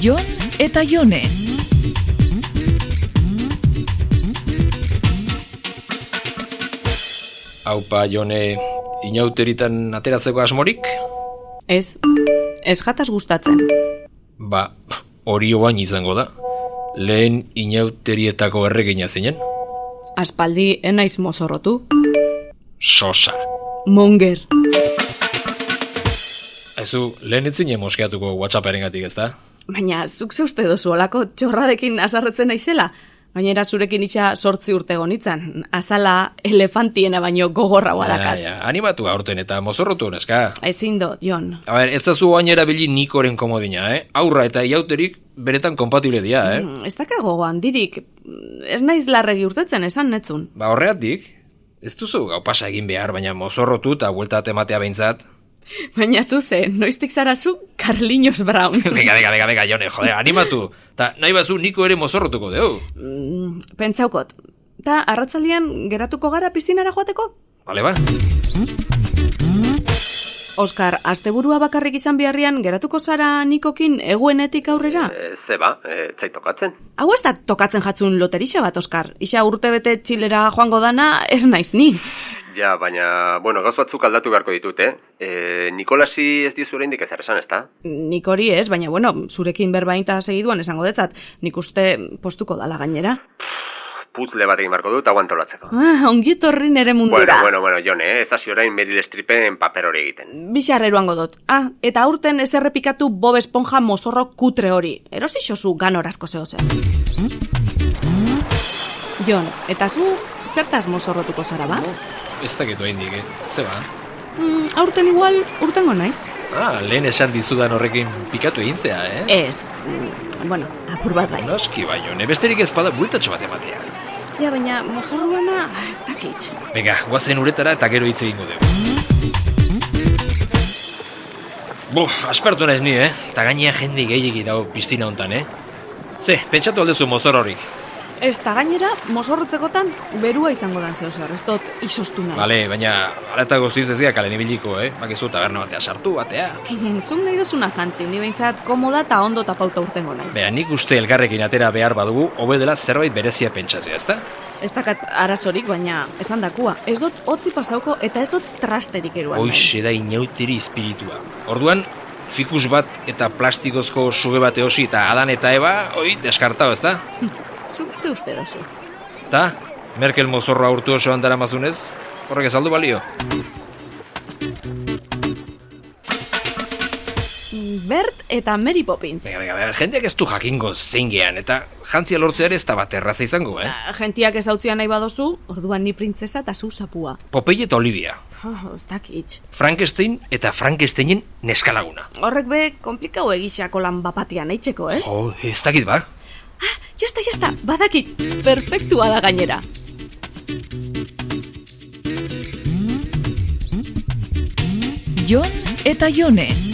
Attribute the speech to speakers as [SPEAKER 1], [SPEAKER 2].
[SPEAKER 1] Jon eta Jone.
[SPEAKER 2] Haupa, Jone, inauteritan ateratzeko asmorik?
[SPEAKER 3] Ez, ez jataz gustatzen.
[SPEAKER 2] Ba, hori oain izango da. Lehen inauterietako erregina zinen.
[SPEAKER 3] Aspaldi enaiz mozorrotu.
[SPEAKER 2] Sosa.
[SPEAKER 3] Monger.
[SPEAKER 2] Aizu, lehen etzine moskeatuko WhatsApparen gatik ez da?
[SPEAKER 3] Baina, zuk ze uste dozu olako txorrarekin azarretzen naizela. Gainera zurekin itxa sortzi urte gonitzan. Azala elefantiena baino gogorraua
[SPEAKER 2] Ja,
[SPEAKER 3] dakat.
[SPEAKER 2] ja, animatu aurten eta mozorrotu neska.
[SPEAKER 3] Ezin do, Jon.
[SPEAKER 2] A ber, ez zazu oain erabili nikoren komodina, eh? Aurra eta iauterik beretan kompatible dira, eh?
[SPEAKER 3] Mm, Ez daka gogo handirik. Mm, Ez naiz larregi urtetzen esan netzun.
[SPEAKER 2] Ba, horreatik, ez duzu gau pasa egin behar, baina mozorrotu eta buelta ematea behintzat.
[SPEAKER 3] Baina zu ze, noiztik zara zu Carliños Brown.
[SPEAKER 2] Bega, bega, bega, bega, jone, jode, animatu. Ta nahi bazu niko ere mozorrotuko dugu.
[SPEAKER 3] Mm, Pentsaukot. Ta arratzaldian geratuko gara pizinara joateko?
[SPEAKER 2] Bale, ba?
[SPEAKER 3] Oskar, asteburua bakarrik izan biharrian geratuko zara nikokin eguenetik aurrera?
[SPEAKER 4] E, zeba, e, zait tokatzen.
[SPEAKER 3] Hau ez da tokatzen jatzun loterixa bat, Oskar. Isa urtebete txilera joango dana, er naiz ni.
[SPEAKER 4] Ja, baina, bueno, gauz batzuk aldatu beharko ditut, eh? E, Nikolasi ez dizu oraindik ezer esan, ezta?
[SPEAKER 3] Nik hori ez, baina bueno, zurekin berbainta segiduan esango detzat, nik uste postuko dala gainera.
[SPEAKER 4] Puzle bat egin beharko dut aguantolatzeko.
[SPEAKER 3] Ah, ongietorri nere
[SPEAKER 4] Bueno,
[SPEAKER 3] mundura.
[SPEAKER 4] bueno, bueno, jone, eh? ez hasi orain Meryl Streepen paper hori egiten.
[SPEAKER 3] Bixar eroango dut. Ah, eta aurten ez errepikatu Bob Esponja mozorro kutre hori. Erosi xozu ganorazko zeo zer. Jon, eta zu zertaz mozorrotuko zara ba?
[SPEAKER 2] Ez dakitu hain eh? Ze ba?
[SPEAKER 3] Mm, aurten igual, urtengo naiz.
[SPEAKER 2] Ah, lehen esan dizudan horrekin pikatu egin zea, eh?
[SPEAKER 3] Ez, mm, bueno, apur bat bai.
[SPEAKER 2] Noski bai, jone, besterik ez bada bueltatxo bat ematea.
[SPEAKER 3] Ja, baina mozorruana ah, ez dakit.
[SPEAKER 2] Bega, guazen uretara eta gero hitz egingo dugu. Bo, aspertu naiz ni, eh? Eta gainea jende gehiegi dago piztina hontan, eh? Ze, pentsatu aldezu mozor horik.
[SPEAKER 3] Ez da gainera, mozorrotzekotan berua izango dan zeo zer, ez dut izostu nahi.
[SPEAKER 2] Bale, baina, ala eta guztiz ez dira kalen ibiliko, eh? Bakizu taberna batea sartu, batea.
[SPEAKER 3] Zun nahi duzuna jantzi, ni behintzat komoda eta ondo tapauta urtengo naiz.
[SPEAKER 2] Bea, nik uste elgarrekin atera behar badugu, hobe dela zerbait berezia pentsatzea, ezta?
[SPEAKER 3] Ez dakat arazorik, baina esan dakua. Ez dut hotzi pasauko eta ez dut trasterik eruan. nahi.
[SPEAKER 2] Hoixe da inautiri espiritua. Orduan, fikus bat eta plastikozko suge bat eosi eta adan eta eba, hoi, deskartau, ezta?
[SPEAKER 3] Zuk ze uste duzu.
[SPEAKER 2] Ta, Merkel mozorroa urtu osoan dara mazunez, horrek ezaldu balio.
[SPEAKER 3] Bert eta Mary Poppins.
[SPEAKER 2] Bega, bega, bega, jendeak ez du jakingo zein gean, eta jantzia lortzea ere ez da bat erraza izango, eh?
[SPEAKER 3] Ah, Gentiak ez hautzia nahi badozu, orduan ni printzesa eta zu zapua.
[SPEAKER 2] Popeye eta Olivia,
[SPEAKER 3] Oh, ez dakit.
[SPEAKER 2] Frankenstein eta Frankensteinen neskalaguna.
[SPEAKER 3] Horrek be, komplikau egixako lan bapatian eitzeko, ez?
[SPEAKER 2] Jo, ez dakit ba?
[SPEAKER 3] Jasta, jasta, badakit, perfektua da gainera.
[SPEAKER 1] Jon eta Jone.